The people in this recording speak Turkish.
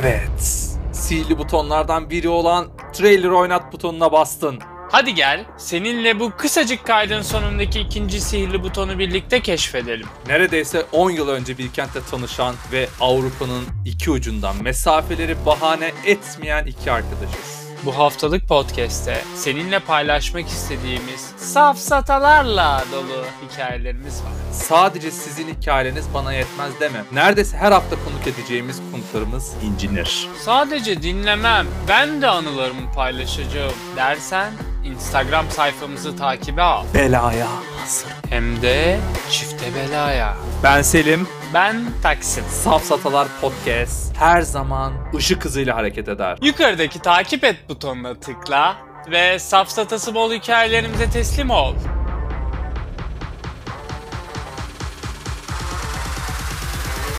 Evet. Sihirli butonlardan biri olan trailer oynat butonuna bastın. Hadi gel, seninle bu kısacık kaydın sonundaki ikinci sihirli butonu birlikte keşfedelim. Neredeyse 10 yıl önce Bilkent'te tanışan ve Avrupa'nın iki ucundan mesafeleri bahane etmeyen iki arkadaşız. Bu haftalık podcast'te seninle paylaşmak istediğimiz safsatalarla dolu hikayelerimiz var. Sadece sizin hikayeniz bana yetmez deme. Neredeyse her hafta konuk edeceğimiz konuklarımız incinir. Sadece dinlemem, ben de anılarımı paylaşacağım dersen Instagram sayfamızı takibe al. Belaya hazır. Hem de çifte belaya. Ben Selim. Ben Taksim. Safsatalar Podcast her zaman ışık hızıyla hareket eder. Yukarıdaki takip et butonuna tıkla ve safsatası bol hikayelerimize teslim ol.